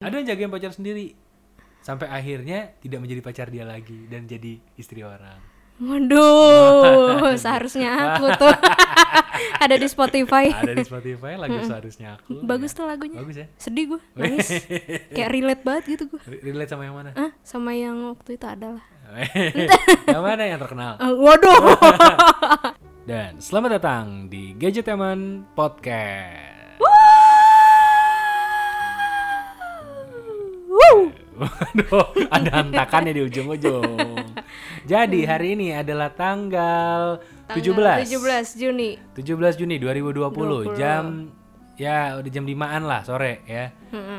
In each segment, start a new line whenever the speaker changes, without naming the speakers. ada yang jagain pacar sendiri sampai akhirnya tidak menjadi pacar dia lagi dan jadi istri orang
Waduh, seharusnya aku tuh ada di Spotify.
ada di Spotify lagu seharusnya aku
Bagus
Ya.
tuh lagunya.
bagus ya
Sedih gue, nangis. Kayak relate banget gitu gue.
Re- relate sama yang mana
Ah, sama yang waktu itu adalah.
yang mana yang terkenal
Ah, waduh.
dan selamat datang di Gadgeteman Podcast
Wuh.
Waduh, ada hantakannya di ujung-ujung. Jadi hari ini adalah tanggal,
Tanggal
17
17 Juni.
17 Juni 2020 jam ya udah jam 5-an lah sore ya.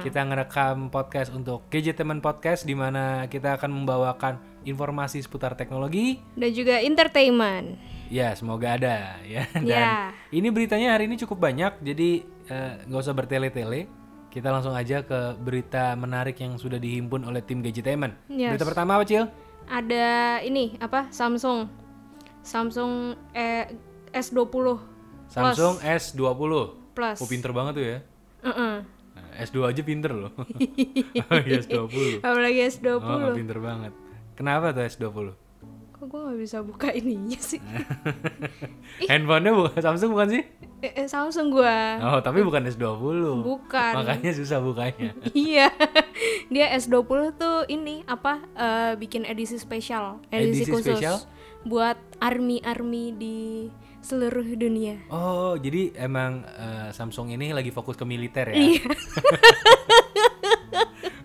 Kita ngerekam podcast untuk Gadgetemen Podcast di mana kita akan membawakan informasi seputar teknologi.
Dan juga entertainment.
Ya, semoga ada ya. Dan
Ya.
ini beritanya hari ini cukup banyak jadi eh, nggak usah bertele-tele. Kita langsung aja ke berita menarik yang sudah dihimpun oleh tim Gadgetemen.
Yes.
Berita pertama apa, Cil?
Ada ini apa? Samsung. Samsung eh, S20
Samsung S20.
Plus.
Oh, pinter banget tuh ya.
Heeh.
Nah, S2 aja pinter loh. Oh, iya, S20.
Apalagi S20.
Oh, pinter banget. Kenapa tuh S20?
Kok gue gak bisa buka ininya sih?
Handphonenya bukan Samsung bukan sih?
eh, eh, Samsung gua.
Oh, tapi bukan S20.
Bukan.
Makanya susah bukanya.
iya. Dia S20 tuh ini apa eh, bikin edisi spesial, edisi,
Edisi
khusus
spesial?
buat army-army di seluruh dunia.
Oh, jadi emang eh, Samsung ini lagi fokus ke militer ya?
Iya.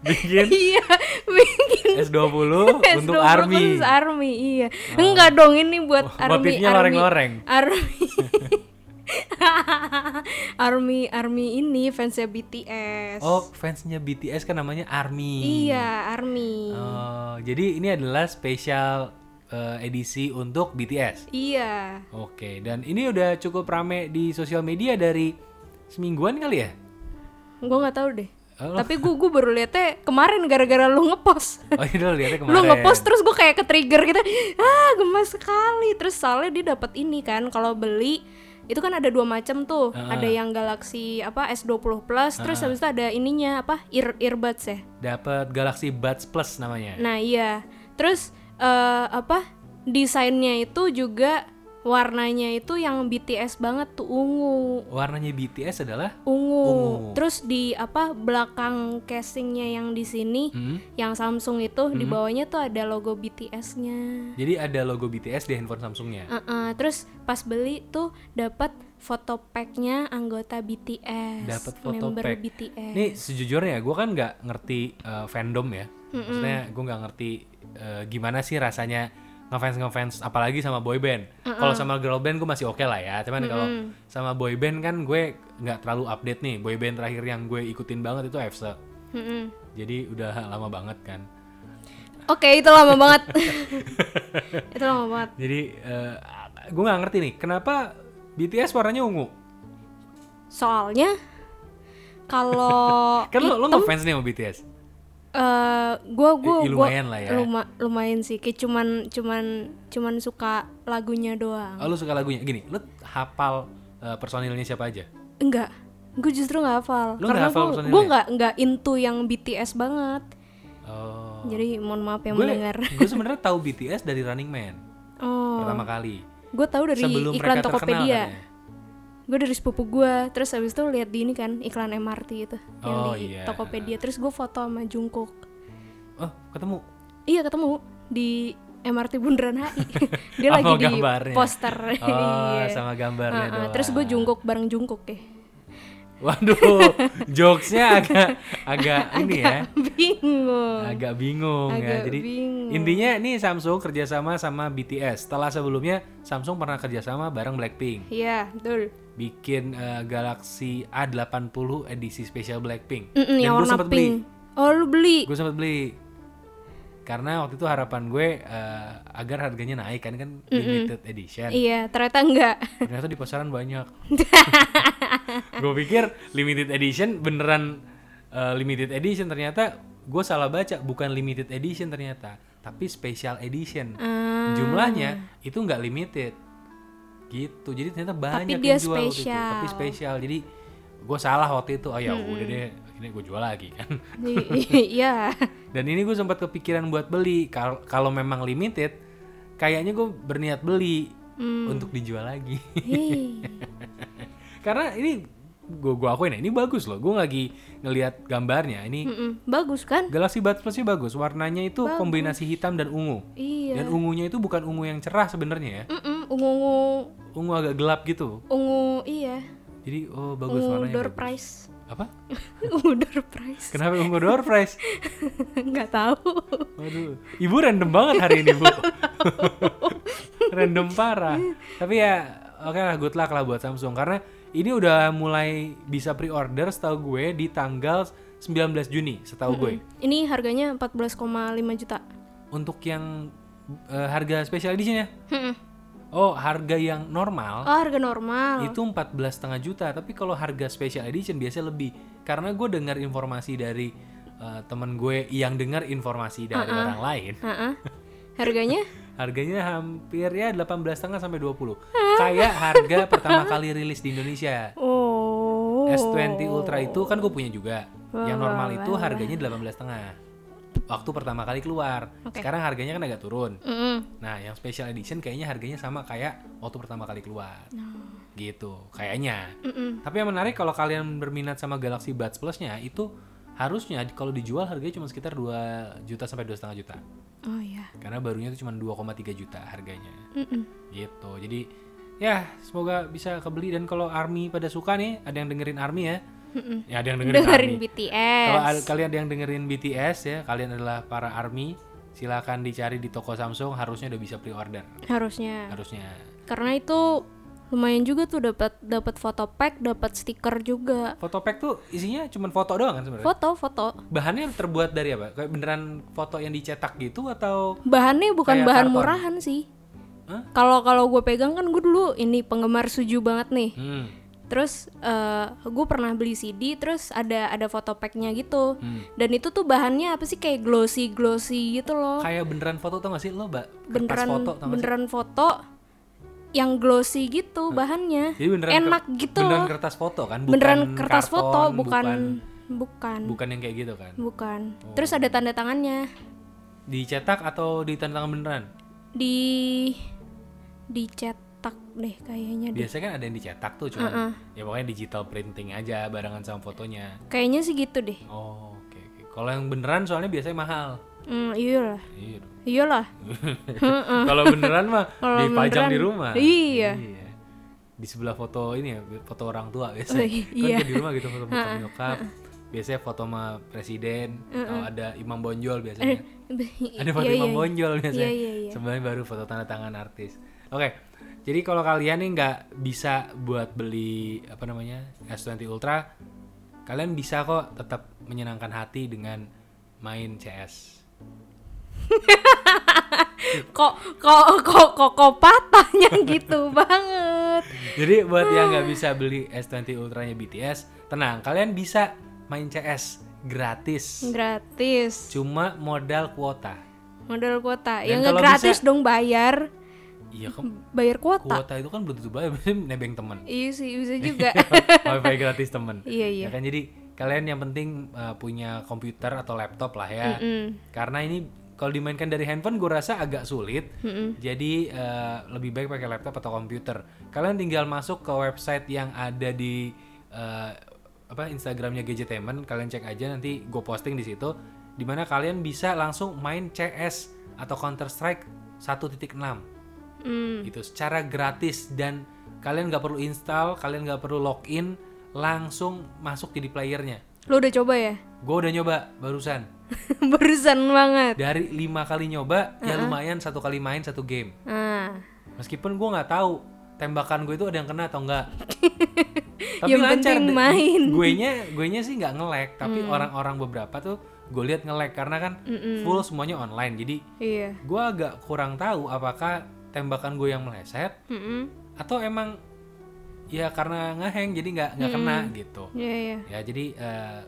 Bikin
Iya, bikin
S20 Oh, untuk
S20
army.
khusus army. Iya. Enggak dong ini buat
Oh,
army.
motifnya
army.
loreng-loreng.
Army. army army ini fansnya BTS.
Oh, fansnya BTS kan namanya Army.
Iya, army.
Oh, jadi ini adalah spesial eh, edisi untuk BTS.
Iya.
Oke, dan ini udah cukup rame di sosial media dari semingguan kali ya?
Gue nggak tahu deh.
Oh, lo-
Tapi gue gue baru liatnya kemarin gara-gara lu ngepost.
Oh, ini lo lihatnya kemarin.
lu ngepost terus gue kayak ke trigger gitu. Ah, gemes sekali. Terus soalnya dia dapat ini kan kalau beli itu kan ada dua macam tuh.
Ah.
Ada yang Galaxy apa S20 Plus, terus habis itu ada ininya apa? Ear earbuds ya.
Dapat Galaxy Buds Plus namanya.
Nah, iya. Terus eh, apa? Desainnya itu juga warnanya itu yang BTS banget tuh ungu.
Warnanya BTS adalah
ungu.
Ungu.
Terus di apa belakang casingnya yang di sini,
mm,
yang Samsung itu
Mhm.
di bawahnya tuh ada logo BTS-nya.
jadi ada logo BTS di handphone Samsungnya.
Uh-uh, Terus pas beli tuh dapat foto pack-nya anggota BTS,
Dapat foto
member
pack.
BTS.
Nih sejujurnya gue kan nggak ngerti eh, fandom ya. Maksudnya gue nggak ngerti eh, gimana sih rasanya ngefans ngefans apalagi sama boy band. Kalau sama girl band gue masih oke lah ya. Cuman kalau sama boy band kan gue nggak terlalu update nih. Boy band terakhir yang gue ikutin banget itu EXO.
Mm-mm.
Jadi udah lama banget kan.
Oke, itu lama banget. itu lama banget.
Jadi gue nggak ngerti nih kenapa BTS warnanya ungu.
Soalnya kalau
Kan lo, lo ngefans nih sama BTS.
eh gua
I-
gua
i-
gua-
lumayan lah ya.
luma- lumayan sih kayak cuman cuman cuman suka lagunya doang
Oh, lo suka lagunya. Gini, lo hafal eh, personilnya siapa aja?
enggak gue justru nggak hafal
Lu nggak
karena
hafal ya?
gue
personilnya?
gue nggak nggak into yang BTS banget
Oh.
jadi mohon maaf yang
gue
mendengar
gue sebenarnya tahu BTS dari Running Man
oh
pertama kali.
gue tahu dari
Sebelum
iklan
mereka terkenal kan ya?
Tokopedia
katanya.
gue dari sepupu gue terus habis itu lihat di ini kan iklan MRT itu yang
Oh,
di
iya.
Tokopedia terus gue foto sama Jungkook
Oh, ketemu.
iya ketemu di MRT Bundaran HI dia
Oh,
lagi di
gambarnya.
poster
Oh,
Iya.
sama gambarnya
Heeh,
doang.
terus gue jungkok bareng jungkok ya
Waduh, jokesnya agak agak ini ya,
bingung
agak bingung ya.
Agak
Jadi
bingung.
intinya nih Samsung kerjasama sama BTS. Setelah sebelumnya Samsung pernah kerjasama bareng Blackpink.
iya betul
bikin eh, Galaxy A80 edisi spesial Blackpink.
Mm-mm, yang
gue
warna
sempat beli.
pink oh lu beli
Gue sempat beli. Karena waktu itu harapan gue eh, agar harganya naik kan kan limited edition.
iya ternyata enggak
Ternyata di pasaran banyak. gue pikir limited edition beneran eh, limited edition ternyata gue salah baca bukan limited edition ternyata tapi special edition. Jumlahnya itu nggak limited. Gitu. Jadi ternyata banyak
dia
yang jual waktu itu,
spesial.
tapi spesial. Jadi gue salah waktu itu. Oh ya udah deh ini gue jual lagi kan
I- i- Iya.
dan ini gue sempat kepikiran buat beli Kal- kalau memang limited kayaknya gue berniat beli untuk dijual lagi
Hei.
karena ini gue gue akuin ya ini bagus loh gue lagi ngelihat gambarnya ini
Mm-mm. Bagus kan?
Galaxy Buds Plus-nya bagus warnanya itu kombinasi hitam dan ungu
Iya.
dan ungunya itu bukan ungu yang cerah sebenarnya ya
Mm-mm, Ungu-ungu
ungu agak gelap gitu
ungu iya.
jadi oh bagus
Ungu
warnanya
door
bagus.
prize.
apa
ungu door prize.
kenapa ungu door prize
Enggak tahu.
Waduh, ibu random banget hari ini bu. random parah. Tapi ya oke lah, good luck lah buat Samsung karena ini udah mulai bisa pre-order setahu gue di tanggal 19 Juni setahu gue.
Ini harganya 14,5 juta.
Untuk yang eh, harga special edition ya.
Mm-mm.
Oh, harga yang normal
Oh, harga normal.
itu 14,5 juta, tapi kalau harga special edition biasanya lebih. Karena gue dengar informasi dari eh, temen gue yang dengar informasi dari orang lain.
Heeh. Harganya?
Harganya hampir ya 18 setengah sampai 20. Kayak harga pertama kali rilis di Indonesia.
Oh.
S20 Ultra itu kan gue punya juga. Yang normal itu harganya 18 setengah. Waktu pertama kali keluar. Sekarang harganya kan agak turun.
Mm-mm.
Nah, yang special edition kayaknya harganya sama kayak waktu pertama kali keluar.
Nah.
Gitu, kayaknya.
Mm-mm.
Tapi yang menarik kalau kalian berminat sama Galaxy Buds Plus-nya itu harusnya kalau dijual harganya cuma sekitar 2 juta sampai 2,5 juta.
Oh iya.
Karena barunya itu cuma 2,3 juta harganya
Mm-mm.
gitu jadi ya semoga bisa kebeli dan kalau army pada suka nih ada yang dengerin army ya ya ada yang dengerin,
Dengerin
army kalau
BTS.
al- kalian ada yang dengerin BTS ya kalian adalah para army silakan dicari di toko Samsung harusnya udah bisa pre-order
Harusnya.
harusnya
Karena itu lumayan juga tuh dapat dapat foto pack, dapat stiker juga.
foto pack tuh isinya cuma foto doang kan sebenarnya
Foto, foto.
bahannya terbuat dari apa kayak beneran foto yang dicetak gitu atau
Bahannya bukan
Kayak
bahan
karton.
murahan sih.
Hah?
Kalau kalau gue pegang kan gue dulu ini penggemar suju banget nih.
hmm,
Terus gue pernah beli CD, terus ada ada foto packnya gitu.
Hmm.
Dan itu tuh bahannya apa sih kayak glossy glossy gitu loh.
kayak beneran foto tau gak sih lo mbak kertas
beneran
foto tau gak sih
beneran foto yang glossy gitu bahannya.
jadi beneran ker-
Enak gitu
beneran
loh.
kertas foto kan bukan
Beneran kertas
karton,
foto, bukan bukan bukan.
bukan yang kayak gitu kan
Terus ada tanda tangannya
dicetak atau ditanda tangan beneran
di dicetak deh kayaknya deh.
biasanya kan ada yang dicetak tuh cuma ya pokoknya digital printing aja barengan sama fotonya
Kayaknya sih gitu deh.
oh oke oke. kalau yang beneran soalnya biasanya mahal
Hmm, iyalah.
Iya dong.
Iyalah.
kalau beneran mah
Eh. Kalau
dipajang
beneran,
di rumah
iya.
di sebelah foto ini ya foto orang tua biasa
Oh,
kan
i- iya.
kayak di rumah gitu foto foto nyokap biasanya foto sama presiden kalau ada imam bonjol biasanya ada foto
Eh, Iya, iya,
Imam Bonjol biasanya.
Iya, iya, iya.
Sebelumnya baru foto tanda tangan artis. Oke. Jadi kalau kalian nih nggak bisa buat beli apa namanya S20 Ultra, kalian bisa kok tetap menyenangkan hati dengan main CS.
kok kok kok kok kok patahnya gitu banget
Jadi buat yang nggak bisa beli S20 Ultranya BTS, tenang, kalian bisa main CS gratis.
gratis
Cuma modal kuota.
modal kuota ya
Dan
nggak
kalau
gratis
bisa-
dong bayar
Iya, kan
bayar kuota
kuota itu kan belum tentu bayar, biasanya nebeng temen.
iya sih bisa juga
wifi gratis temen
Iya, iya.
ya kan jadi kalian yang penting uh, punya komputer atau laptop lah ya
Mm-mm.
karena ini kalau dimainkan dari handphone gue rasa agak sulit jadi uh, lebih baik pakai laptop atau komputer kalian tinggal masuk ke website yang ada di uh, apa Instagramnya Gadgetainment kalian cek aja nanti gue posting di situ dimana kalian bisa langsung main CS atau Counter Strike 1.6
Hmm,
gitu secara gratis dan kalian nggak perlu install kalian nggak perlu login langsung masuk jadi playernya
lo udah coba ya
gue udah nyoba barusan
barusan banget
dari lima kali nyoba ya lumayan satu kali main satu game
ah
meskipun gue nggak tahu tembakan gue itu ada yang kena atau enggak tapi
Yang
lancar
penting
deh.
main. Hmm.
gue nya gue nya sih nggak ngelek tapi orang-orang beberapa tuh gue lihat ngelek karena kan full semuanya online jadi
iya
gue agak kurang tahu apakah tembakan gue yang meleset
Mm-mm.
atau emang ya karena ngeheng jadi nggak nggak kena gitu
iya iya
ya jadi eh,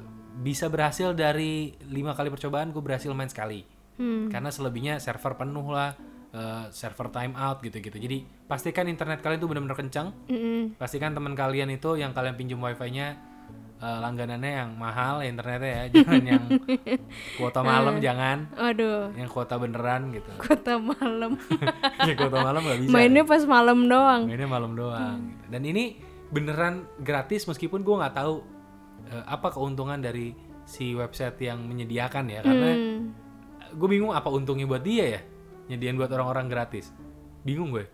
bisa berhasil dari lima kali percobaan gue berhasil main sekali
Hmm.
karena selebihnya server penuh lah eh, server time out gitu-gitu jadi pastikan internet kalian tuh benar-benar kencang
Mm-mm.
pastikan teman kalian itu yang kalian pinjam wifi-nya eh, langganannya yang mahal ya internetnya ya jangan yang kuota
Eh.
malam jangan
Aduh,
yang kuota beneran gitu
kota malam.
ya kuota malam nggak bisa Iya.
Mainnya pas malam doang.
mainnya malam doang
Hmm.
gitu. dan ini beneran gratis meskipun gue nggak tahu eh, apa keuntungan dari si website yang menyediakan ya karena
Hmm.
gue bingung apa untungnya buat dia ya nyediain buat orang-orang gratis bingung gue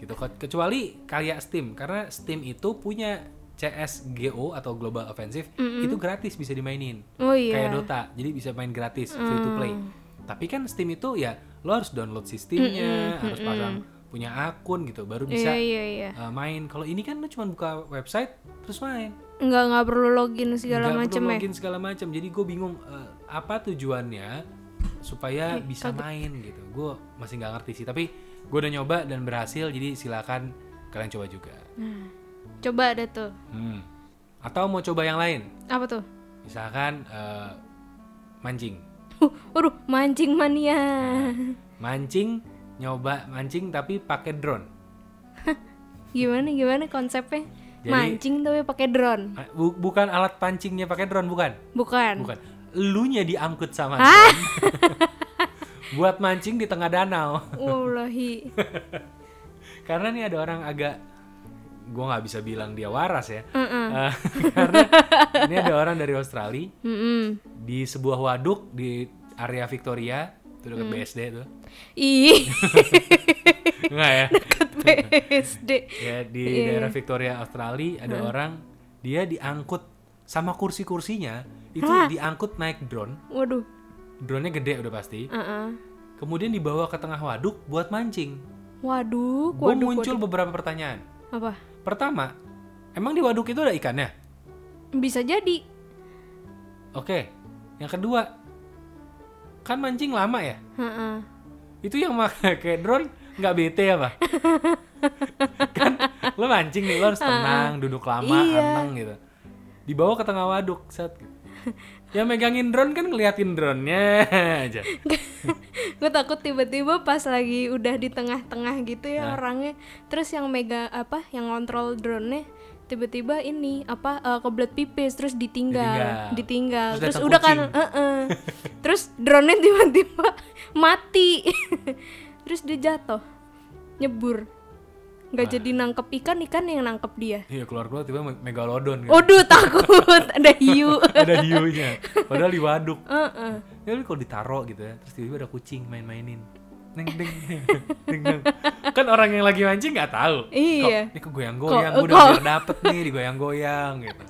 gitu Ke- kecuali kayak Steam karena Steam itu punya CSGO atau Global Offensive itu gratis bisa dimainin
Oh iya. Mm.
kayak Dota jadi bisa main gratis free to play tapi kan Steam itu ya lo harus download sistemnya harus pasang punya akun gitu baru
Iya
bisa
iya iya.
uh, main kalau ini kan lo cuma buka website terus main
Nggak nggak perlu login segala
Nggak
macam
perlu
ya.
login segala macam jadi gue bingung eh, apa tujuannya supaya
Iya,
bisa main gitu gue masih nggak ngerti sih tapi gue udah nyoba dan berhasil jadi silakan kalian coba juga
Nah, coba ada tuh.
Hmm. atau mau coba yang lain
Apa tuh?
misalkan eh, mancing
Huh, Waduh, mancing mania.
mancing nyoba mancing tapi pakai drone
Gimana gimana konsepnya?
Jadi-
mancing tapi pakai drone.
Ma- Eh, bu- bukan alat pancingnya pakai drone bukan
Bukan.
bukan elunya diangkut sama drone buat mancing di tengah danau
Wallahi.
karena nih ada orang agak gue nggak bisa bilang dia waras ya
Mm-mm.
Eh, karena ini ada orang dari Australia
Mm-mm.
di sebuah waduk di area Victoria itu dekat BSD tuh
Ih,
enggak ya
deket BSD.
ya di daerah Victoria Australia ada orang dia diangkut sama kursi-kursinya itu diangkut naik drone
Waduh.
drone-nya gede udah pasti
Uh-uh.
kemudian dibawa ke tengah waduk buat mancing
Waduh,
gue
waduh.
muncul beberapa pertanyaan
Apa?
pertama emang di waduk itu ada ikannya
Bisa jadi.
Oke, yang kedua, kan mancing lama ya?
Heeh.
Itu yang pakai drone nggak bete apa? kan lo mancing nih, lo harus tenang, duduk lama,
Iya.
tenang gitu. Dibawa ke tengah waduk, set. gitu. Yang megangin drone kan ngeliatin drone-nya aja.
gue takut tiba-tiba pas lagi udah di tengah-tengah gitu
Nah.
ya orangnya terus yang mega apa yang ngontrol drone-nya tiba-tiba ini apa eh, kebelet pipis terus
Ditinggal.
ditinggal ditinggal terus,
Terus datang
udah kan eh-eh. terus drone-nya tiba-tiba mati terus dia jatuh nyebur
Ah.
nggak jadi nangkep ikan ikan yang nangkep dia
Iya keluar-keluar tiba me- megalodon gitu.
Waduh takut ada hiu
ada hiunya, padahal di waduk.
Heeh.
Ya lu kalau ditaro gitu ya, terus tiba-tiba ada kucing main-mainin. Neng deng, deng, deng. Kan orang yang lagi mancing nggak tahu. Kok,
Iya.
ini kegoyang-goyang,
Kok-
gua udah
kok.
biar dapet nih digoyang-goyang gitu.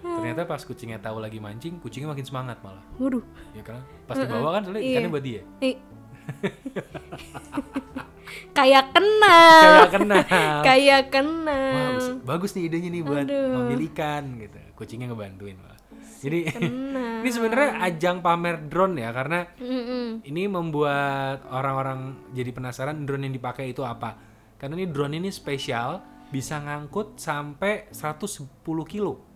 Ternyata pas kucingnya tahu lagi mancing, kucingnya makin semangat malah.
waduh
Ya kan? Pas dibawa kan
Iya.
soalnya ikannya buat dia.
Nih. kayak kenal
Kayak kena.
kayak kenal
Wah, bes- bagus nih idenya nih buat
Aduh.
ngambil ikan gitu. Kucingnya ngebantuin malah. Jadi
Kenal.
ini sebenarnya ajang pamer drone ya karena Ini membuat orang-orang jadi penasaran drone yang dipakai itu apa. Karena ini drone ini spesial, bisa ngangkut sampai 110 kilo.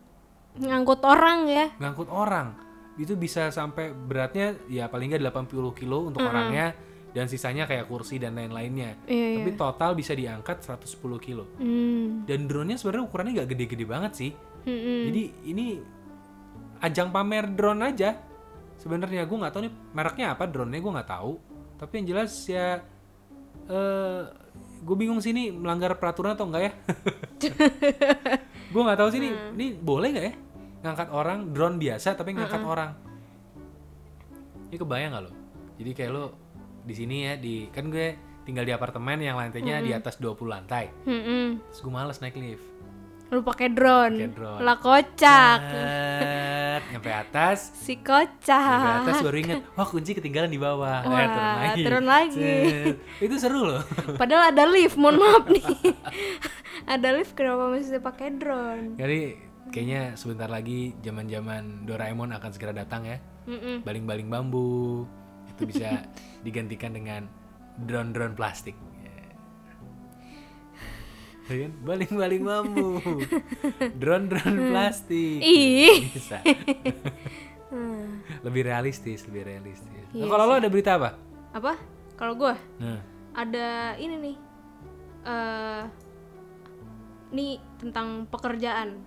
ngangkut orang ya
Ngangkut orang. Itu bisa sampai beratnya ya paling nggak 80 kilo untuk orangnya dan sisanya kayak kursi dan lain-lainnya.
Iya,
Tapi total bisa diangkat 110 kilo.
Hmm.
Dan drone-nya sebenarnya ukurannya nggak gede-gede banget sih.
Mm-mm.
Jadi ini ajang pamer drone aja. Sebenarnya gue nggak tahu nih mereknya apa drone-nya gue nggak tahu. Tapi yang jelas ya eh gue bingung sih ini melanggar peraturan atau enggak ya. gue nggak tahu sih ini ini boleh nggak ya ngangkat orang drone biasa tapi ngangkat orang. Ini kebayang nggak lo? Jadi kayak lo di sini ya di kan gue tinggal di apartemen yang lantainya di atas 20 lantai.
Mm-mm.
Terus gue males naik lift.
lu pakai drone.
Pakai drone. Nah.
lah kocak
Set, nyampe atas
si
Di atas
kocak
Iya, baru inget, wah kunci ketinggalan di bawah. Eh,
Ah. Wah, turun lagi.
Cet. Itu seru loh.
padahal ada lift mohon maaf nih ada lift kenapa mesti pakai drone
Jadi kayaknya sebentar lagi zaman-zaman Doraemon akan segera datang ya.
Mm-mm.
Baling-baling bambu itu bisa digantikan dengan drone-drone plastik. Ya kan? Baling-baling bambu, drone-drone plastik.
Hmm.
Iya,
Ih.
Bisa.
Hmm.
Lebih realistis, lebih realistis. Nah,
Iya
kalau lo ada berita apa?
apa kalau gua
Nah,
ada ini nih eh nih tentang pekerjaan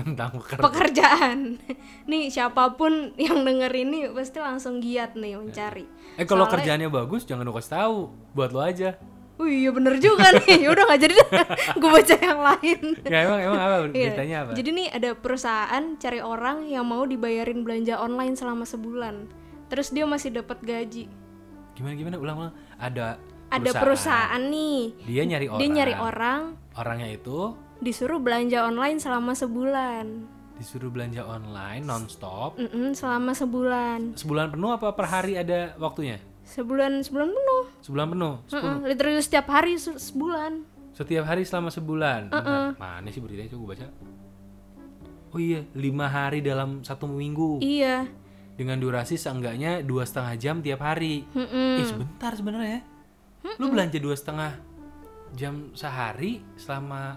tentang pekerjaan.
pekerjaan. nih siapapun yang denger ini pasti langsung giat nih mencari.
Eh kalau kerjaannya
Soalnya-
bagus jangan lu kasih tahu, buat lo aja.
Wih, iya bener juga nih. Yaudah nggak jadi deh. Gue baca yang lain.
Ya emang emang apa
Iya.
beritanya apa?
Jadi nih ada perusahaan cari orang yang mau dibayarin belanja online selama sebulan. Terus dia masih dapat gaji.
Gimana gimana ulang-ulang. Ada
Ada perusahaan nih.
Dia nyari orang.
Dia nyari orang
Orangnya itu
disuruh belanja online selama sebulan.
disuruh belanja online nonstop.
Mm-mm, selama sebulan.
Sebulan penuh apa per hari ada waktunya?
Sebulan sebulan penuh.
Sebulan penuh.
Mm-mm, literally setiap hari se- sebulan.
Setiap hari selama sebulan. Bentar, Mana sih beritanya coba gua baca? Oh iya, lima hari dalam satu minggu
Iya.
dengan durasi seenggaknya dua setengah jam tiap hari.
Mm-mm.
Ih sebentar sebenarnya. Lu
Hmm.
belanja dua setengah jam sehari selama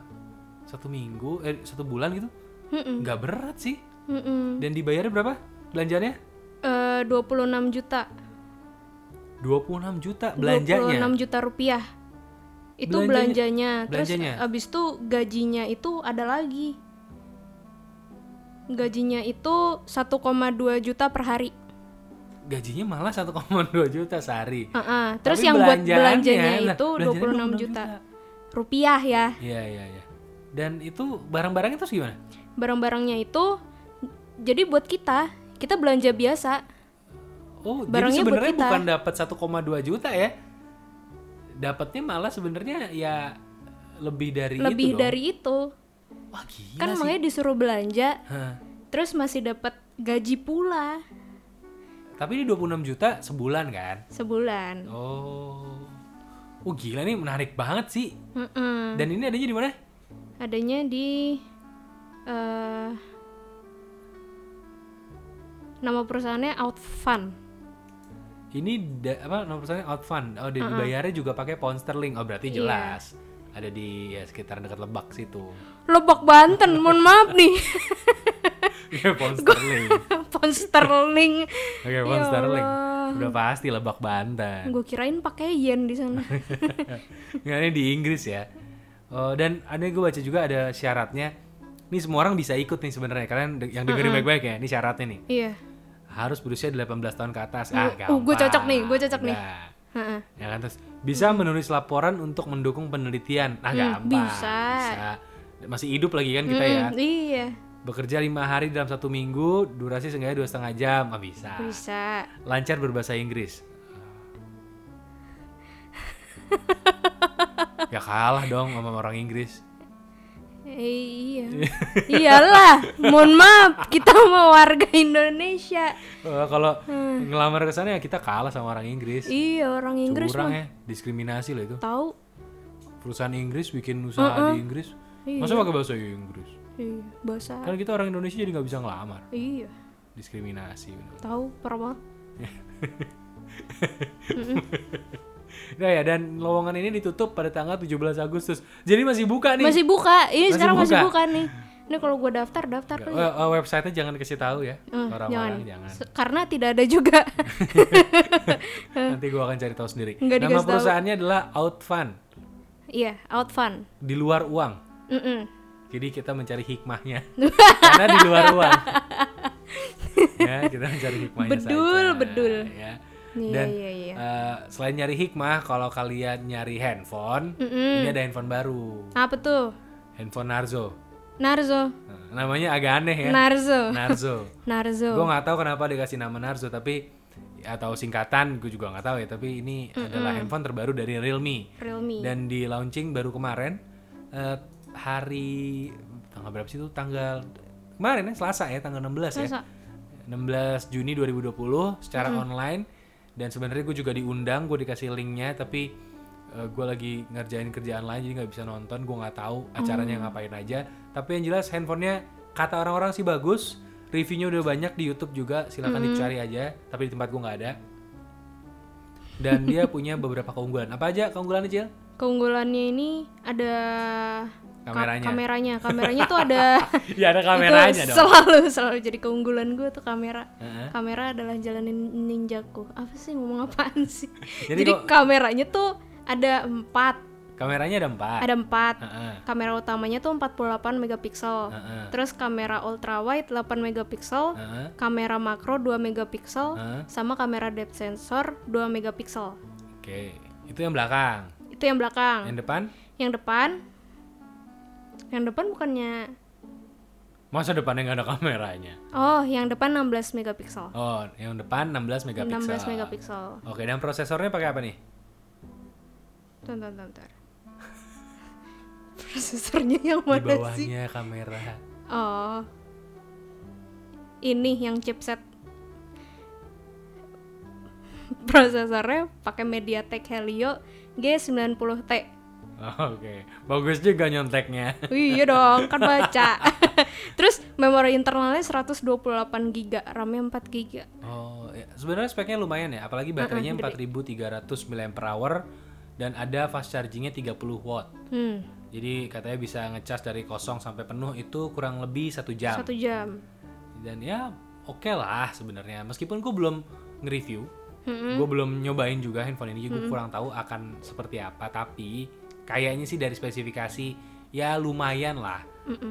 satu minggu, eh satu bulan gitu,
Mm-mm.
nggak berat sih.
Mm-mm.
Dan dibayarnya berapa? Belanjanya?
Eh, 26 juta.
26 juta belanjanya.
26 juta rupiah. Itu
Belanjanya-
belanjanya. Terus
belanjanya.
abis itu gajinya itu ada lagi. Gajinya itu 1,2 juta per hari.
Gajinya malah 1,2 juta sehari.
Ah, ah. Terus
Tapi
yang buat
belanjaannya,
belanjanya
nah,
itu
belanjaannya
26 juta rupiah ya.
Iya, iya, iya. Dan itu barang-barangnya terus gimana?
Barang-barangnya itu jadi buat kita, kita belanja biasa.
Oh,
Barangnya
jadi
buat
sebenarnya
kita.
bukan dapat 1,2 juta ya. Dapatnya malah sebenarnya ya lebih dari
Lebih
itu
dari itu.
dong. Wah, gila
Kan
sih.
makanya disuruh belanja,
Hah.
terus masih dapat gaji pula
Tapi ini 26 juta sebulan kan?
sebulan.
Oh. Oh, gila nih menarik banget sih.
Mm-mm.
Dan ini adanya di mana?
adanya di eh nama perusahaannya Outfun.
Ini da- apa nomor perusahaannya Outfund. Oh, di- dibayarnya juga pakai pound sterling. Oh,
Iya.
berarti jelas. Ada di ya, sekitar dekat Lebak situ.
Lebak Banten, mohon maaf nih.
Iya, pound sterling.
Pound sterling.
Oke, pound
Ya
sterling.
Allah.
Udah pasti Lebak Banten.
Gue kirain pakai yen di sana.
Nggak, ini di Inggris ya. Eh, dan ada gue baca juga ada syaratnya. Ini semua orang bisa ikut nih sebenarnya. Kalian de- yang dengerin baik-baik ya. Ini syaratnya nih.
iya.
Harus berusia 18 tahun ke atas. Ah,
Uh, gue cocok nih, gue cocok nih.
Udah.
Heeh.
Ya kan terus bisa menulis laporan untuk mendukung penelitian. Nah, gampang.
Hmm, bisa.
Bisa. Masih hidup lagi kan kita ya.
Mm, Iya,
Bekerja lima hari dalam satu minggu, durasi seenggaknya dua setengah jam. Ah, bisa.
bisa.
Lancar berbahasa Inggris. ya kalah dong sama orang Inggris.
Eh, iya. Iyalah, mohon maaf kita mau warga Indonesia.
Eh, kalau
Hmm.
ngelamar ke sana ya kita kalah sama orang Inggris.
Iya, orang Inggris
Curang
mah
ya, diskriminasi loh itu.
tahu.
Perusahaan Inggris bikin usaha di Inggris. Masa pakai bahasa Inggris?
Iya, bahasa.
Kan kita orang Indonesia jadi nggak bisa ngelamar.
Iya,
diskriminasi bener.
tahu parah banget.
Nah ya dan lowongan ini ditutup pada tanggal 17 Agustus. Jadi masih buka nih.
Masih buka.
Masih
Ini sekarang masih
buka.
buka nih. Ini kalau gue daftar, daftar
Eh,
kali.
eh, websitenya jangan kasih tahu ya
Eh,
orang-orang jangan.
Se- Karena tidak ada juga.
Nanti gua akan cari tahu sendiri.
Eh. Nggak
Nama
dikasih tahu.
perusahaannya adalah Outfund,
Iya, out fun.
di luar uang.
Mm-mm.
Jadi kita mencari hikmahnya. Karena di luar uang. ya, kita mencari hikmahnya
Bedul,
saja,
bedul.
ya.
Iya,
Dan
iya, iya.
eh, selain nyari hikmah, kalau kalian nyari handphone,
Mm-mm.
ini ada handphone baru,
Apa tuh?
handphone Narzo.
Narzo.
Nah, namanya agak aneh ya.
Narzo.
Narzo.
Narzo.
gue nggak tahu kenapa dikasih nama Narzo tapi atau singkatan gue juga nggak tahu ya tapi ini adalah handphone terbaru dari Realme
Realme.
dan di launching baru kemarin eh, hari tanggal berapa sih itu tanggal kemarin ya Selasa ya tanggal 16 ya
Selasa.
16 Juni 2020 secara online dan sebenarnya gue juga diundang gue dikasih linknya tapi eh, gue lagi ngerjain kerjaan lain jadi nggak bisa nonton gue nggak tahu acaranya ngapain aja tapi yang jelas handphonenya kata orang-orang sih bagus reviewnya udah banyak di YouTube juga silahkan dicari aja tapi di tempat gue nggak ada dan dia punya beberapa keunggulan apa aja keunggulannya Cil?
Keunggulannya ini ada ka-
Kameranya.
kameranya. Kameranya tuh ada
ya ada kameranya
itu
dong
selalu selalu jadi keunggulan gue tuh kamera.
Heeh.
Kamera adalah jalanin ninjaku. Apa sih ngomong apaan sih?
Jadi
Jadi,
kok-
kameranya tuh ada empat.
Kameranya ada empat.
Ada empat.
Heeh.
Kamera utamanya tuh 48 megapiksel.
Heeh.
Terus kamera ultrawide 8 megapiksel,
Heeh.
kamera makro 2 megapiksel,
Heeh.
sama kamera depth sensor 2 megapiksel.
Oke, itu yang belakang.
Itu yang belakang.
Yang depan?
Yang depan Yang depan bukannya
Masa depannya nggak ada kameranya?
Oh, yang depan 16 megapiksel.
Oh, yang depan 16 megapiksel.
16 megapiksel.
Oke, dan prosesornya pakai apa nih?
Tuh, tuh, tuh, tuh. Prosesornya yang
Di
mana sih?
bawahnya kamera.
Oh. Ini yang chipset. Prosesornya pakai MediaTek Helio G90T.
Oh, Oke, bagus juga nyonteknya.
Wih, Iya dong, kan baca. Terus memori internalnya 128 GB, RAM-nya 4 GB.
Oh, ya. sebenarnya speknya lumayan ya, apalagi baterainya 4300 mAh dan ada fast chargingnya 30 watt.
Hmm,
Jadi katanya bisa ngecas dari kosong sampai penuh itu kurang lebih satu jam.
satu jam.
Dan ya oke lah sebenarnya. Meskipun gue belum nge-review, gue belum nyobain juga handphone ini, gue kurang tahu akan seperti apa. Tapi kayaknya sih dari spesifikasi ya lumayan lah,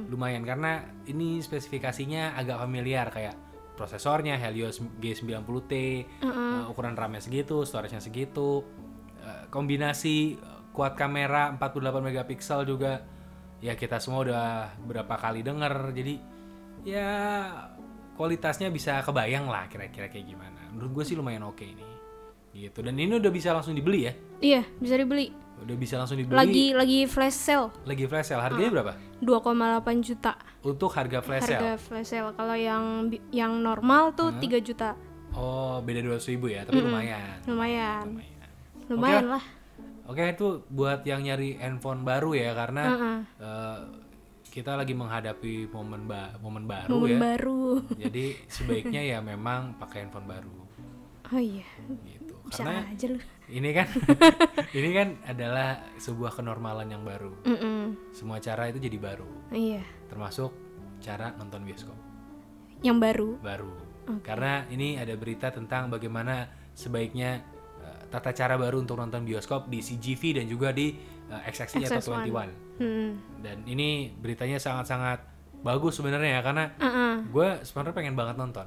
lumayan karena ini spesifikasinya agak familiar kayak prosesornya Helio G90T, eh, ukuran RAM-nya segitu, storage-nya segitu, eh, kombinasi eh, kuat kamera 48 megapiksel juga ya kita semua udah berapa kali denger jadi ya kualitasnya bisa kebayang lah kira-kira kayak gimana. Menurut gue sih lumayan oke ini. Gitu. Dan ini udah bisa langsung dibeli ya.
Iya, bisa dibeli.
Udah bisa langsung dibeli.
Lagi Ah. lagi flash sale
Lagi flash sale. Harganya berapa?
2,8 juta
Untuk harga flash sale.
harga flash sale. Kalau yang bi- yang normal tuh 3 juta.
Oh, beda 200 ribu ya, tapi lumayan.
Lumayan.
Lumayan.
Lumayan
Oke
lah.
Oke, itu buat yang nyari handphone baru ya karena
Heeh.
eh, kita lagi menghadapi momen ba- momen baru ya.
Momen baru.
Jadi sebaiknya ya memang pakai handphone baru
Oh iya,
gitu.
bisa
Karena
aja lu.
ini kan ini kan adalah sebuah kenormalan yang baru
Mm-mm.
semua cara itu jadi baru
Iya,
termasuk cara nonton bioskop
yang baru.
baru karena ini ada berita tentang bagaimana sebaiknya eh, tata cara baru untuk nonton bioskop di CGV dan juga di eh, XXI atau 21
Hmm.
dan ini beritanya sangat-sangat bagus sebenarnya ya karena
Uh-uh.
gue sebenarnya pengen banget nonton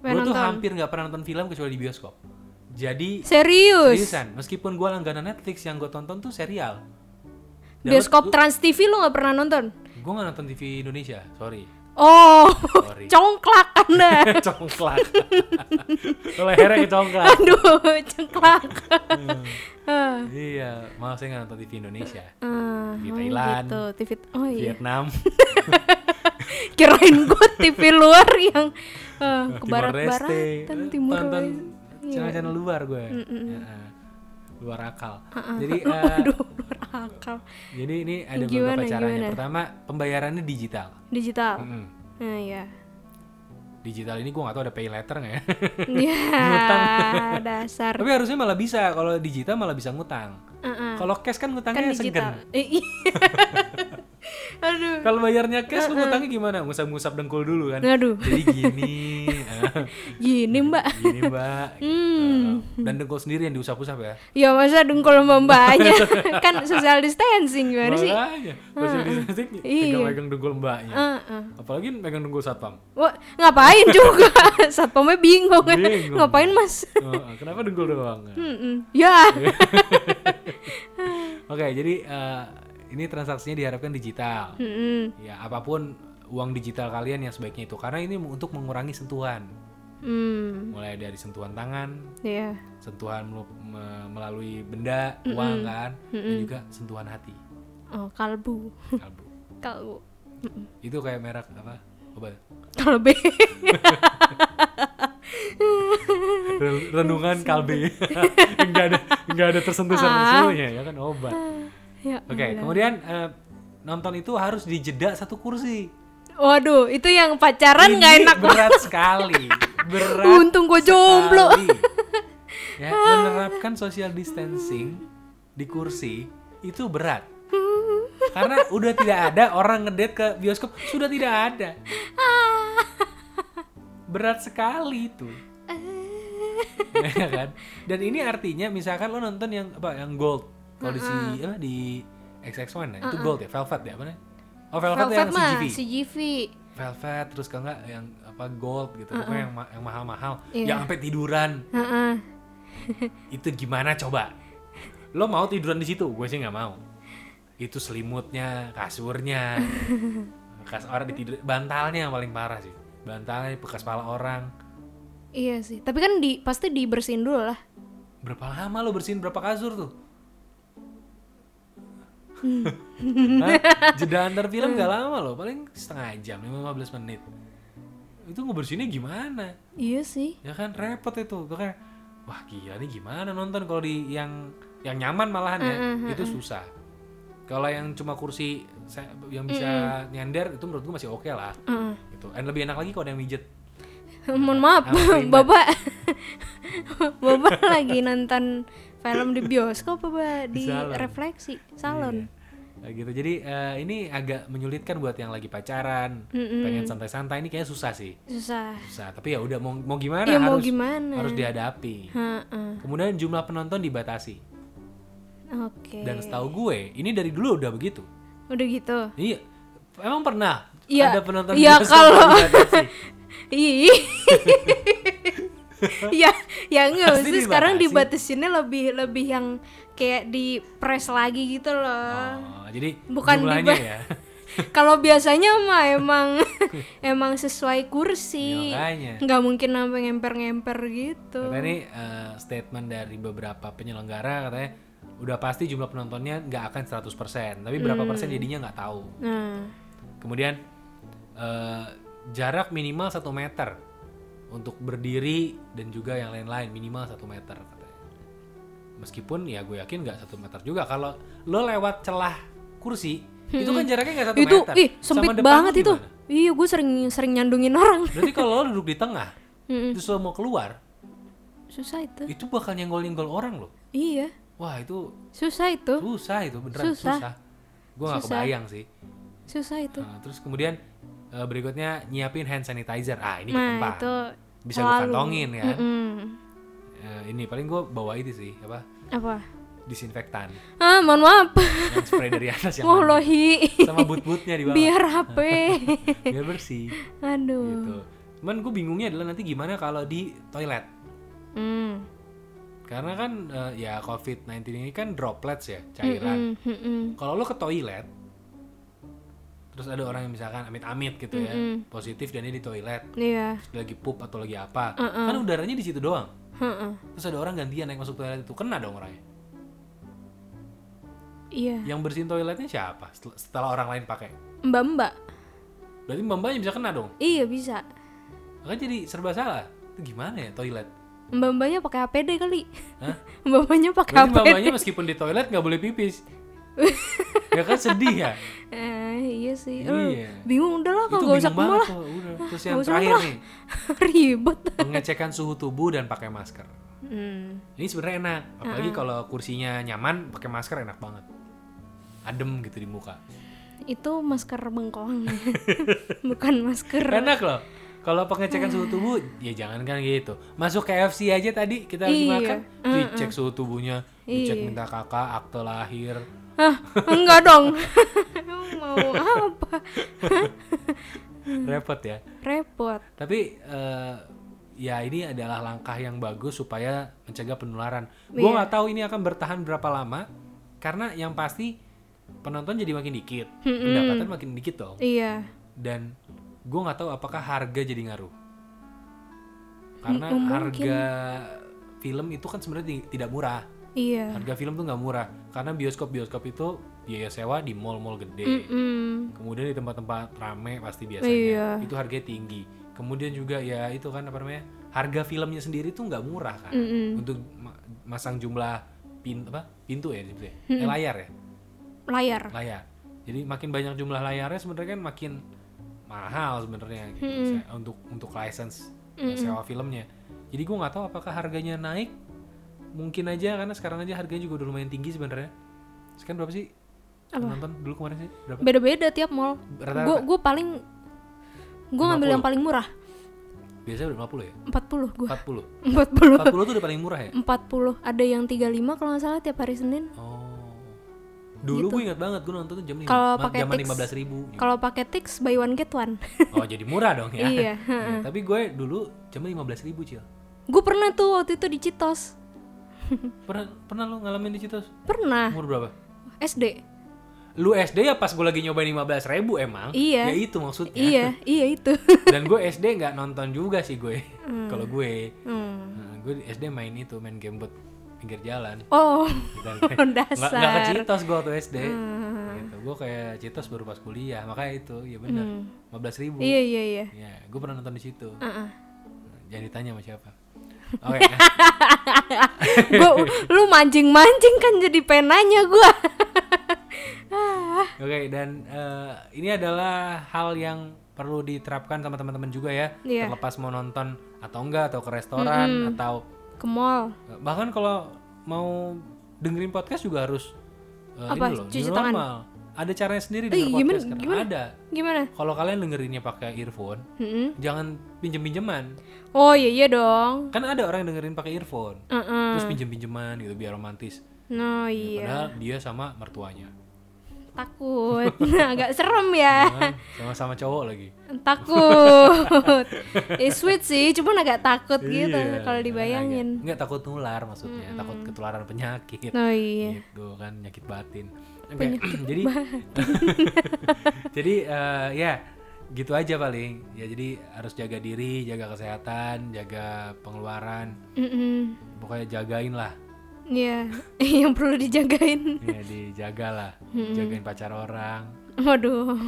Pengen
gue tuh
nonton.
hampir nggak pernah nonton film kecuali di bioskop jadi
Serius?
Seriusan, meskipun gue langganan Netflix yang gue tonton tuh serial.
Bioskop Trans TV lu nggak pernah nonton?
Gue gak nonton TV Indonesia, sorry.
Oh,
Sorry.
congklak anda.
congklak. Lo Lehernya kecongklak.
Aduh, cengklak. Ah,
iya, maaf saya gak nonton TV Indonesia.
ah,
Di
oh
Thailand.
Gitu, TV. Oh iya.
Vietnam,
Kirain gue TV luar yang eh, ke
Timor Leste.
barat-baratan Timur
Eh, Tonton
Leste. Iya. Mm,
channel-channel luar gue. Heeh. Luar akal. Jadi eh,
Aduh, luar akal.
jadi ini ada
Gimana,
beberapa caranya.
gimana?
Pertama, pembayarannya digital.
Digital.
Mm-mm.
Nah, ya.
Digital ini gue gak tau ada pay letter gak ya.
Ya, dasar. Ah,
Tapi harusnya malah bisa. Kalau digital malah bisa ngutang.
Heeh.
Kalau cash kan
Kan
ngutangnya segan.
digital. Eh, iya. Aduh.
Kalau bayarnya cash
Eh,
lu ngutangnya gimana? Ngusap-ngusap dengkul dulu kan.
Aduh.
Jadi gini. ah,
Gini, Mbak.
gini, Mbak. Gitu.
Hmm.
Dan dengkul sendiri yang diusap-usap ya.
Ya masa dengkul sama mbaknya kan social distancing gimana sih? Ah,
Makanya, Masih disentik
Iya. Ah.
pegang dengkul mbaknya.
Heeh.
Apalagi megang dengkul satpam.
Wah, ngapain juga? Satpamnya bingung.
Bingung.
ngapain, Mas?
Oh, kenapa dengkul doang?
Mm-mm. Ya.
Iya. Oke, jadi eh, ini transaksinya diharapkan digital.
Hmm. Mm-mm.
Ya, apapun uang digital kalian yang sebaiknya itu karena ini untuk mengurangi sentuhan.
Hmm.
Mulai dari sentuhan tangan,
Ya.
sentuhan melu- me- melalui benda, uang kan, dan juga sentuhan hati.
Oh, kalbu.
kalbu.
Kalbu.
Itu kayak merek apa? Obat.
Kalbe.
Ren- Renungan kalbe. enggak ada enggak ada
Ah.
tersentuh-sentuhnya ya kan obat.
ya.
Oke, kemudian eh, nonton itu harus dijeda satu kursi.
Waduh, itu yang pacaran nggak
Ini
enak.
berat sekali. Berat.
Untung gua jomblo.
sekali. Ya, menerapkan social distancing di kursi itu berat. Karena udah tidak ada orang ngedate ke bioskop, sudah tidak ada.
Ah.
Berat sekali itu. Ya kan? Dan ini artinya misalkan lo nonton yang apa yang gold Kalau di si apa di XX1 ya, itu gold ya, velvet ya, apa namanya? Oh, velvet,
Velvet
yang
mah
CGV.
CGV.
Velvet terus kalau nggak yang apa gold gitu, pokoknya yang ma- yang mahal-mahal,
Iya.
yang sampai tiduran.
Heeh.
Itu gimana coba? Lo mau tiduran di situ? Gue sih nggak mau. Itu selimutnya, kasurnya, bekas orang ditidur, bantalnya yang paling parah sih. Bantalnya bekas pala orang.
Iya sih. Tapi kan di pasti dibersihin dulu lah.
Berapa lama lo bersihin berapa kasur tuh? Hah? Jeda antar film gak lama loh, paling setengah jam, 15 menit. Itu ngebersihinnya gimana?
Iya sih.
Ya kan repot itu. Gue kayak wah gila nih gimana nonton kalau di yang yang nyaman malahan ya, itu susah. Kalau yang cuma kursi se- yang bisa nyender itu menurut gue masih oke lah.
Heeh.
Gitu. Dan lebih enak lagi kalau ada yang mijet.
Mohon maaf,
Apa ini?
Bapak. Bapak lagi nonton film di bioskop apa
Di
di
salon.
refleksi salon.
Iya. Nah, gitu. Jadi eh, ini agak menyulitkan buat yang lagi pacaran, pengen santai-santai ini kayaknya susah sih.
Susah.
Susah, tapi ya udah mau mau gimana
Iya, mau
harus
gimana?
harus dihadapi.
Heeh.
Kemudian jumlah penonton dibatasi.
Oke.
Dan setahu gue, ini dari dulu udah begitu.
Udah gitu.
Iya. Emang pernah
Iya.
ada penonton
Iya,
bioskop
kalau-
yang dibatasi?
Ih. ya, ya enggak
Pasti
maksudnya sekarang
dibatasi.
dibatasinnya lebih lebih yang kayak di press lagi gitu loh.
Oh, jadi
Bukan
jumlahnya
diba-
ya.
Kalau biasanya mah emang emang sesuai kursi.
Ya, makanya.
Nggak mungkin sampai ngemper-ngemper gitu.
Katanya ini eh, statement dari beberapa penyelenggara katanya udah pasti jumlah penontonnya nggak akan 100%, tapi berapa
Hmm.
persen jadinya nggak tahu.
Nah,
Kemudian eh, jarak minimal 1 meter untuk berdiri dan juga yang lain-lain minimal 1 meter katanya. Meskipun ya gue yakin nggak 1 meter juga kalau lo lewat celah kursi itu kan jaraknya nggak 1
Hmm. itu
meter.
ih
Sama
sempit
depan lo
banget itu.
gimana?
Iya, gue sering sering nyandungin orang.
Berarti kalau lo duduk di tengah
Mm-mm.
terus lo mau keluar
Susah itu.
itu bakal nyenggol-nyenggol orang loh.
Iya,
Wah itu
susah itu.
susah itu beneran
Susah.
susah. Gue nggak
Susah.
kebayang sih.
Susah itu.
Nah, terus kemudian eh, berikutnya nyiapin hand sanitizer. Ah ini
Nah,
ketempa.
itu
Bisa gue
selalu.
kantongin kan.
Mm-mm.
Eh, ini paling gue bawa itu sih apa
Apa?
disinfektan
Ah, mohon maaf.
yang spray dari atas yang mandi.
Wallahi.
sama but-butnya di bawah
Oh, Biar HP.
biar bersih
Aduh.
gitu. Cuman gue bingungnya adalah nanti gimana kalau di toilet Gitu.
Hmm.
karena kan eh, ya COVID-19 ini kan droplets ya cairan.
Hmm, hmm, hmm.
Kalau lo ke toilet terus ada orang yang misalkan amit-amit gitu ya positif dan dia di toilet
Iya.
terus dia lagi pup atau lagi apa kan udaranya di situ doang
Heeh.
terus ada orang gantian naik masuk toilet itu kena dong orangnya
Iya.
yang bersihin toiletnya siapa Setel- setelah orang lain pakai
Mbak-mbak.
berarti mbak bisa kena dong
Iya bisa.
kan jadi serba salah itu gimana ya toilet
Mbak-mbaknya pakai APD kali.
Hah?
Mbak-mbaknya pakai
berarti
APD.
mbak meskipun di toilet nggak boleh pipis ya kan sedih ya
Eh, iya sih. Eh,
Iya.
bingung udah lah
itu
kalau nggak usah
bingung
ke mall
banget
lah.
tuh udah. terus
Ah,
yang
nggak usah
terakhir
lah.
nih
Ribet.
pengecekan suhu tubuh dan pakai masker
Hmm.
ini sebenarnya enak apalagi kalau kursinya nyaman pakai masker enak banget adem gitu di muka
Itu masker bengkoang. Bukan masker.
enak loh kalau pengecekan suhu tubuh ya jangan kan gitu masuk KFC aja tadi kita lagi
Iya.
makan dicek suhu tubuhnya dicek
Iya.
minta kakak akte lahir
Hah, enggak dong. Emang mau apa? Mm.
repot ya
Repot.
tapi eh, ya ini adalah langkah yang bagus supaya mencegah penularan gua nggak tahu ini akan bertahan berapa lama karena yang pasti penonton jadi makin dikit pendapatan makin dikit dong
Iya.
dan gue nggak tahu apakah harga jadi ngaruh karena harga film itu kan sebenarnya ti- tidak murah
Iya.
harga film tuh nggak murah karena bioskop bioskop itu biaya sewa di mall-mall gede
Hmm.
kemudian di tempat-tempat rame pasti biasanya
Iya.
itu harganya tinggi kemudian juga ya itu kan apa namanya harga filmnya sendiri tuh nggak murah kan untuk ma- masang jumlah pin apa pintu ya gitu ya Eh, layar ya
Layar.
layar. Jadi makin banyak jumlah layarnya sebenarnya kan makin mahal sebenarnya gitu. Saya- untuk untuk license ya, sewa filmnya. Jadi gue nggak tahu apakah harganya naik. Mungkin aja karena sekarang aja harganya juga udah lumayan tinggi sebenarnya. Sekarang berapa sih? Nonton dulu kemarin sih berapa?
Beda-beda tiap mall.
Rata-rata.
Gue gue paling gue ngambil yang paling murah.
Biasanya udah 50 ya?
40 gue.
40.
40.
40 tuh udah paling murah ya?
40 ada yang 35 kalau nggak salah tiap hari Senin
Oh. Dulu gue ingat banget gue nonton tuh jam lima,
Gitu. Kalau
ma-
pakai
zaman
Tix.
lima belas ribu.
Kalau pakai Tix buy one get one.
Oh jadi murah dong ya.
Iya,
Iya, Tapi gue dulu jam lima belas ribu cil.
gue pernah tuh waktu itu di Citos.
Pernah pernah lu ngalamin di Citos?
Pernah
Umur berapa?
SD.
Lu SD ya pas gue lagi nyobain lima belas ribu emang.
Iya.
Ya itu maksudnya.
Iya, iya itu.
Dan gue SD nggak nonton juga sih gue. Kalau gue,
Hmm.
Nah, gue di SD main itu main game buat pinggir jalan.
Oh,
Dan nggak nggak ke
dasar. Hmm.
Citos gue waktu SD. Gitu. Gue kayak Citos baru pas kuliah, makanya itu, ya benar. 15.000 ribu.
Hmm. Iya, iya, iya.
Ya, gue pernah nonton di situ.
Heeh.
Nah, Jangan ditanya sama siapa. Oke. eh,
Gua lu mancing-mancing kan jadi penanya gua. Ah,
Oke, dan eh, ini adalah hal yang perlu diterapkan sama teman-teman juga ya.
Iya. Hmm.
Terlepas mau nonton atau enggak atau ke restoran atau eh,
Ke mall.
bahkan kalau mau dengerin podcast juga harus eh, ini
Apa?
loh,
Cuci
new
tangan?
normal. Ada caranya sendiri
Eh,
denger
gimana-
podcast sekarang. Ada.
Gimana?
Kalau kalian dengerinnya pakai earphone,
Mm-mm.
jangan pinjem-pinjeman.
Oh, iya iya dong.
Kan ada orang yang dengerin pakai earphone,
Heeh.
terus pinjem-pinjeman gitu biar romantis.
No, Hmm. iya.
Padahal dia sama mertuanya.
Takut. Agak serem ya.
Nah, sama-sama cowok lagi.
takut. Eh, sweet sih, cuman agak takut gitu
Iya,
kalau dibayangin.
Enggak takut nular maksudnya, takut ketularan penyakit.
Oh Hmm. iya.
Gitu kan penyakit batin. Oke, jadi Jadi eh, ya gitu aja paling. Ya jadi harus jaga diri, jaga kesehatan, jaga pengeluaran,
Mm-mm.
pokoknya jagain lah.
Iya, yang perlu dijagain.
Ya dijagalah,
Hmm.
jagain pacar orang.
Waduh.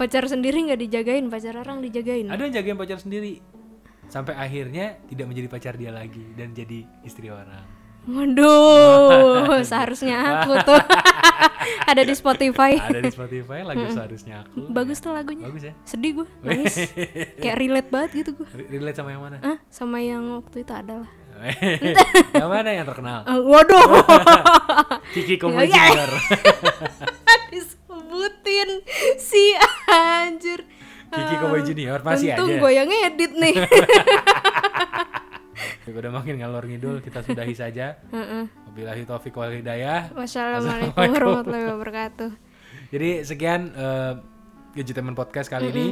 pacar sendiri nggak dijagain, pacar orang dijagain.
Ada yang jagain pacar sendiri sampai akhirnya tidak menjadi pacar dia lagi dan jadi istri orang.
Waduh, seharusnya aku tuh ada di Spotify.
Ada di Spotify lagu seharusnya aku.
Bagus tuh lagunya.
Bagus ya.
Sedih gue, nangis. Kayak relate banget gitu gue.
Re- Relate sama yang mana?
Ah, sama yang waktu itu adalah.
yang mana yang terkenal?
waduh,
Kiki Komedi Junior.
disebutin si anjir.
Kiki Komedi Junior masih
Untung
aja.
gue yang ngedit nih.
Udah makin ngalor ngidul, kita sudahi saja.
Heeh.
Wabillahi taufiq wal hidayah.
Wassalamualaikum warahmatullahi wabarakatuh.
Jadi sekian eh, Gadgetainment Podcast kali ini.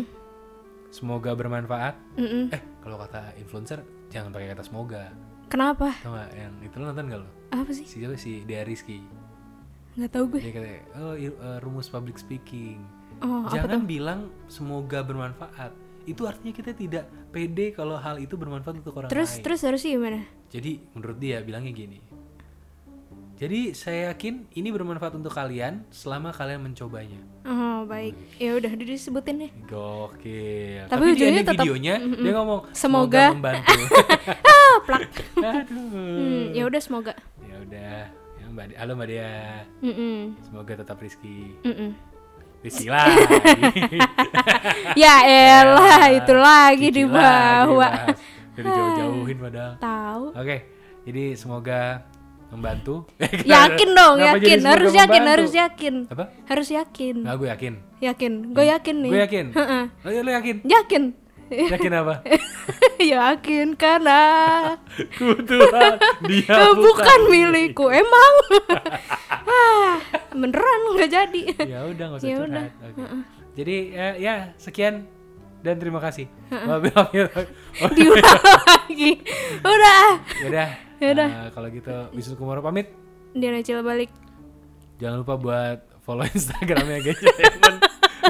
Semoga bermanfaat.
Mm-mm.
Eh, kalau kata influencer jangan pakai kata semoga.
Kenapa?
Tau gak yang itu lo nonton gak lo?
Apa sih?
Si siapa si Dea Rizky.
Nggak tahu gue.
Dia kata, oh i- eh, rumus public speaking.
Oh, apa
jangan bilang semoga bermanfaat. Itu artinya kita tidak pede kalau hal itu bermanfaat untuk orang
Terus
lain.
terus harusnya gimana?
Jadi menurut dia bilangnya gini. Jadi saya yakin ini bermanfaat untuk kalian selama kalian mencobanya.
Oh, baik.
Hmm.
Ya udah udah disebutin ya.
Gokil.
Tapi
di
ujungnya
ending
tetap-
videonya dia ngomong
Semoga."
membantu.
Ah, plak.
Aduh.
Hmm, ya udah semoga.
Ya udah. Ya, Mbak Dea- Halo Mbak Dea.
Mm-mm.
Semoga tetap rizki.
Mm-mm.
Rizki lagi.
Ya elah, itu lagi
Kiki
di
lagi
bawah.
dibahas. Udah dijauh-jauhin padahal.
Tahu.
Oke. Jadi semoga membantu.
Yakin dong,
Kenapa jadi
yakin.
semoga
Harus yakin,
membantu?
harus yakin.
Apa?
Harus yakin.
Nggak gue yakin.
Yakin. Gue yakin nih.
Gue Hmm. yakin.
Heeh.
Lo, lo yakin?
Yakin. Ya,
Yakin apa?
yakin karena
Ku Tuhan, dia
bukan,
Ya, bukan.
milikku emang. Ah, beneran nggak jadi.
Ya udah nggak usah
Ya
curhat. Oke. Jadi eh, ya sekian dan terima kasih. Wabillahi taufiq.
Diulang lagi. Ya Udah.
Yaudah.
Yaudah.
Ya eh, kalau gitu Wisnu Kumoro pamit.
Dia Cil balik.
Jangan lupa buat follow Instagramnya Gadgetainment.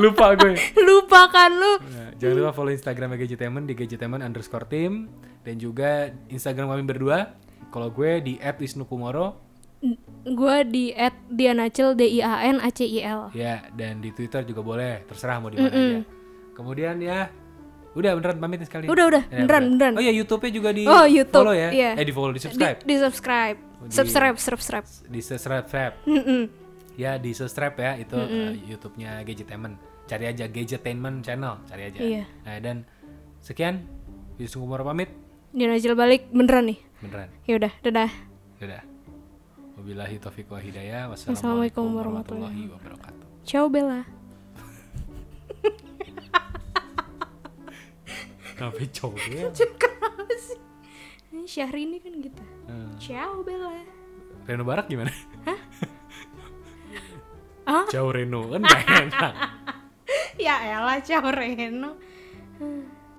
Lupa gue.
Lupakan kan lu.
Nah, jangan lupa follow Instagramnya Gadgetainment di Gadgetainment underscore team. Dan juga Instagram kami berdua. Kalau gue di @wisnukumoro.
Gue di at Dianacil D I A N A C I L.
Ya, dan di Twitter juga boleh, terserah mau di mana aja. Kemudian ya, udah beneran pamit sekali.
Udah udah,
Ya,
beneran beneran.
Oh ya, YouTube-nya juga di
Oh, YouTube,
follow ya.
iya.
Eh di follow, di
Di,
subscribe. Oh,
di subscribe. Subscribe, subscribe.
Di subscribe.
Mm-mm.
Ya, di subscribe ya itu eh, YouTube-nya Gadgetainment. Cari aja Gadgetainment channel, cari aja.
Iya.
Nah, dan sekian. Yusuf Kumar pamit.
Dian Acil balik beneran nih.
Beneran.
Ya udah, dadah.
Dadah. Wabillahi taufiq wa hidayah.
Wassalamualaikum
Wassalamualaikum warahmatullahi
warahmatullahi
wabarakatuh.
Ciao Bella.
Sampai cowoknya.
Kenapa sih? Ini Syahrini kan gitu.
Hmm.
Ciao Bella.
Reno Barak gimana? Jauh Reno kan gak enak.
ya elah Ciao Reno Hmm,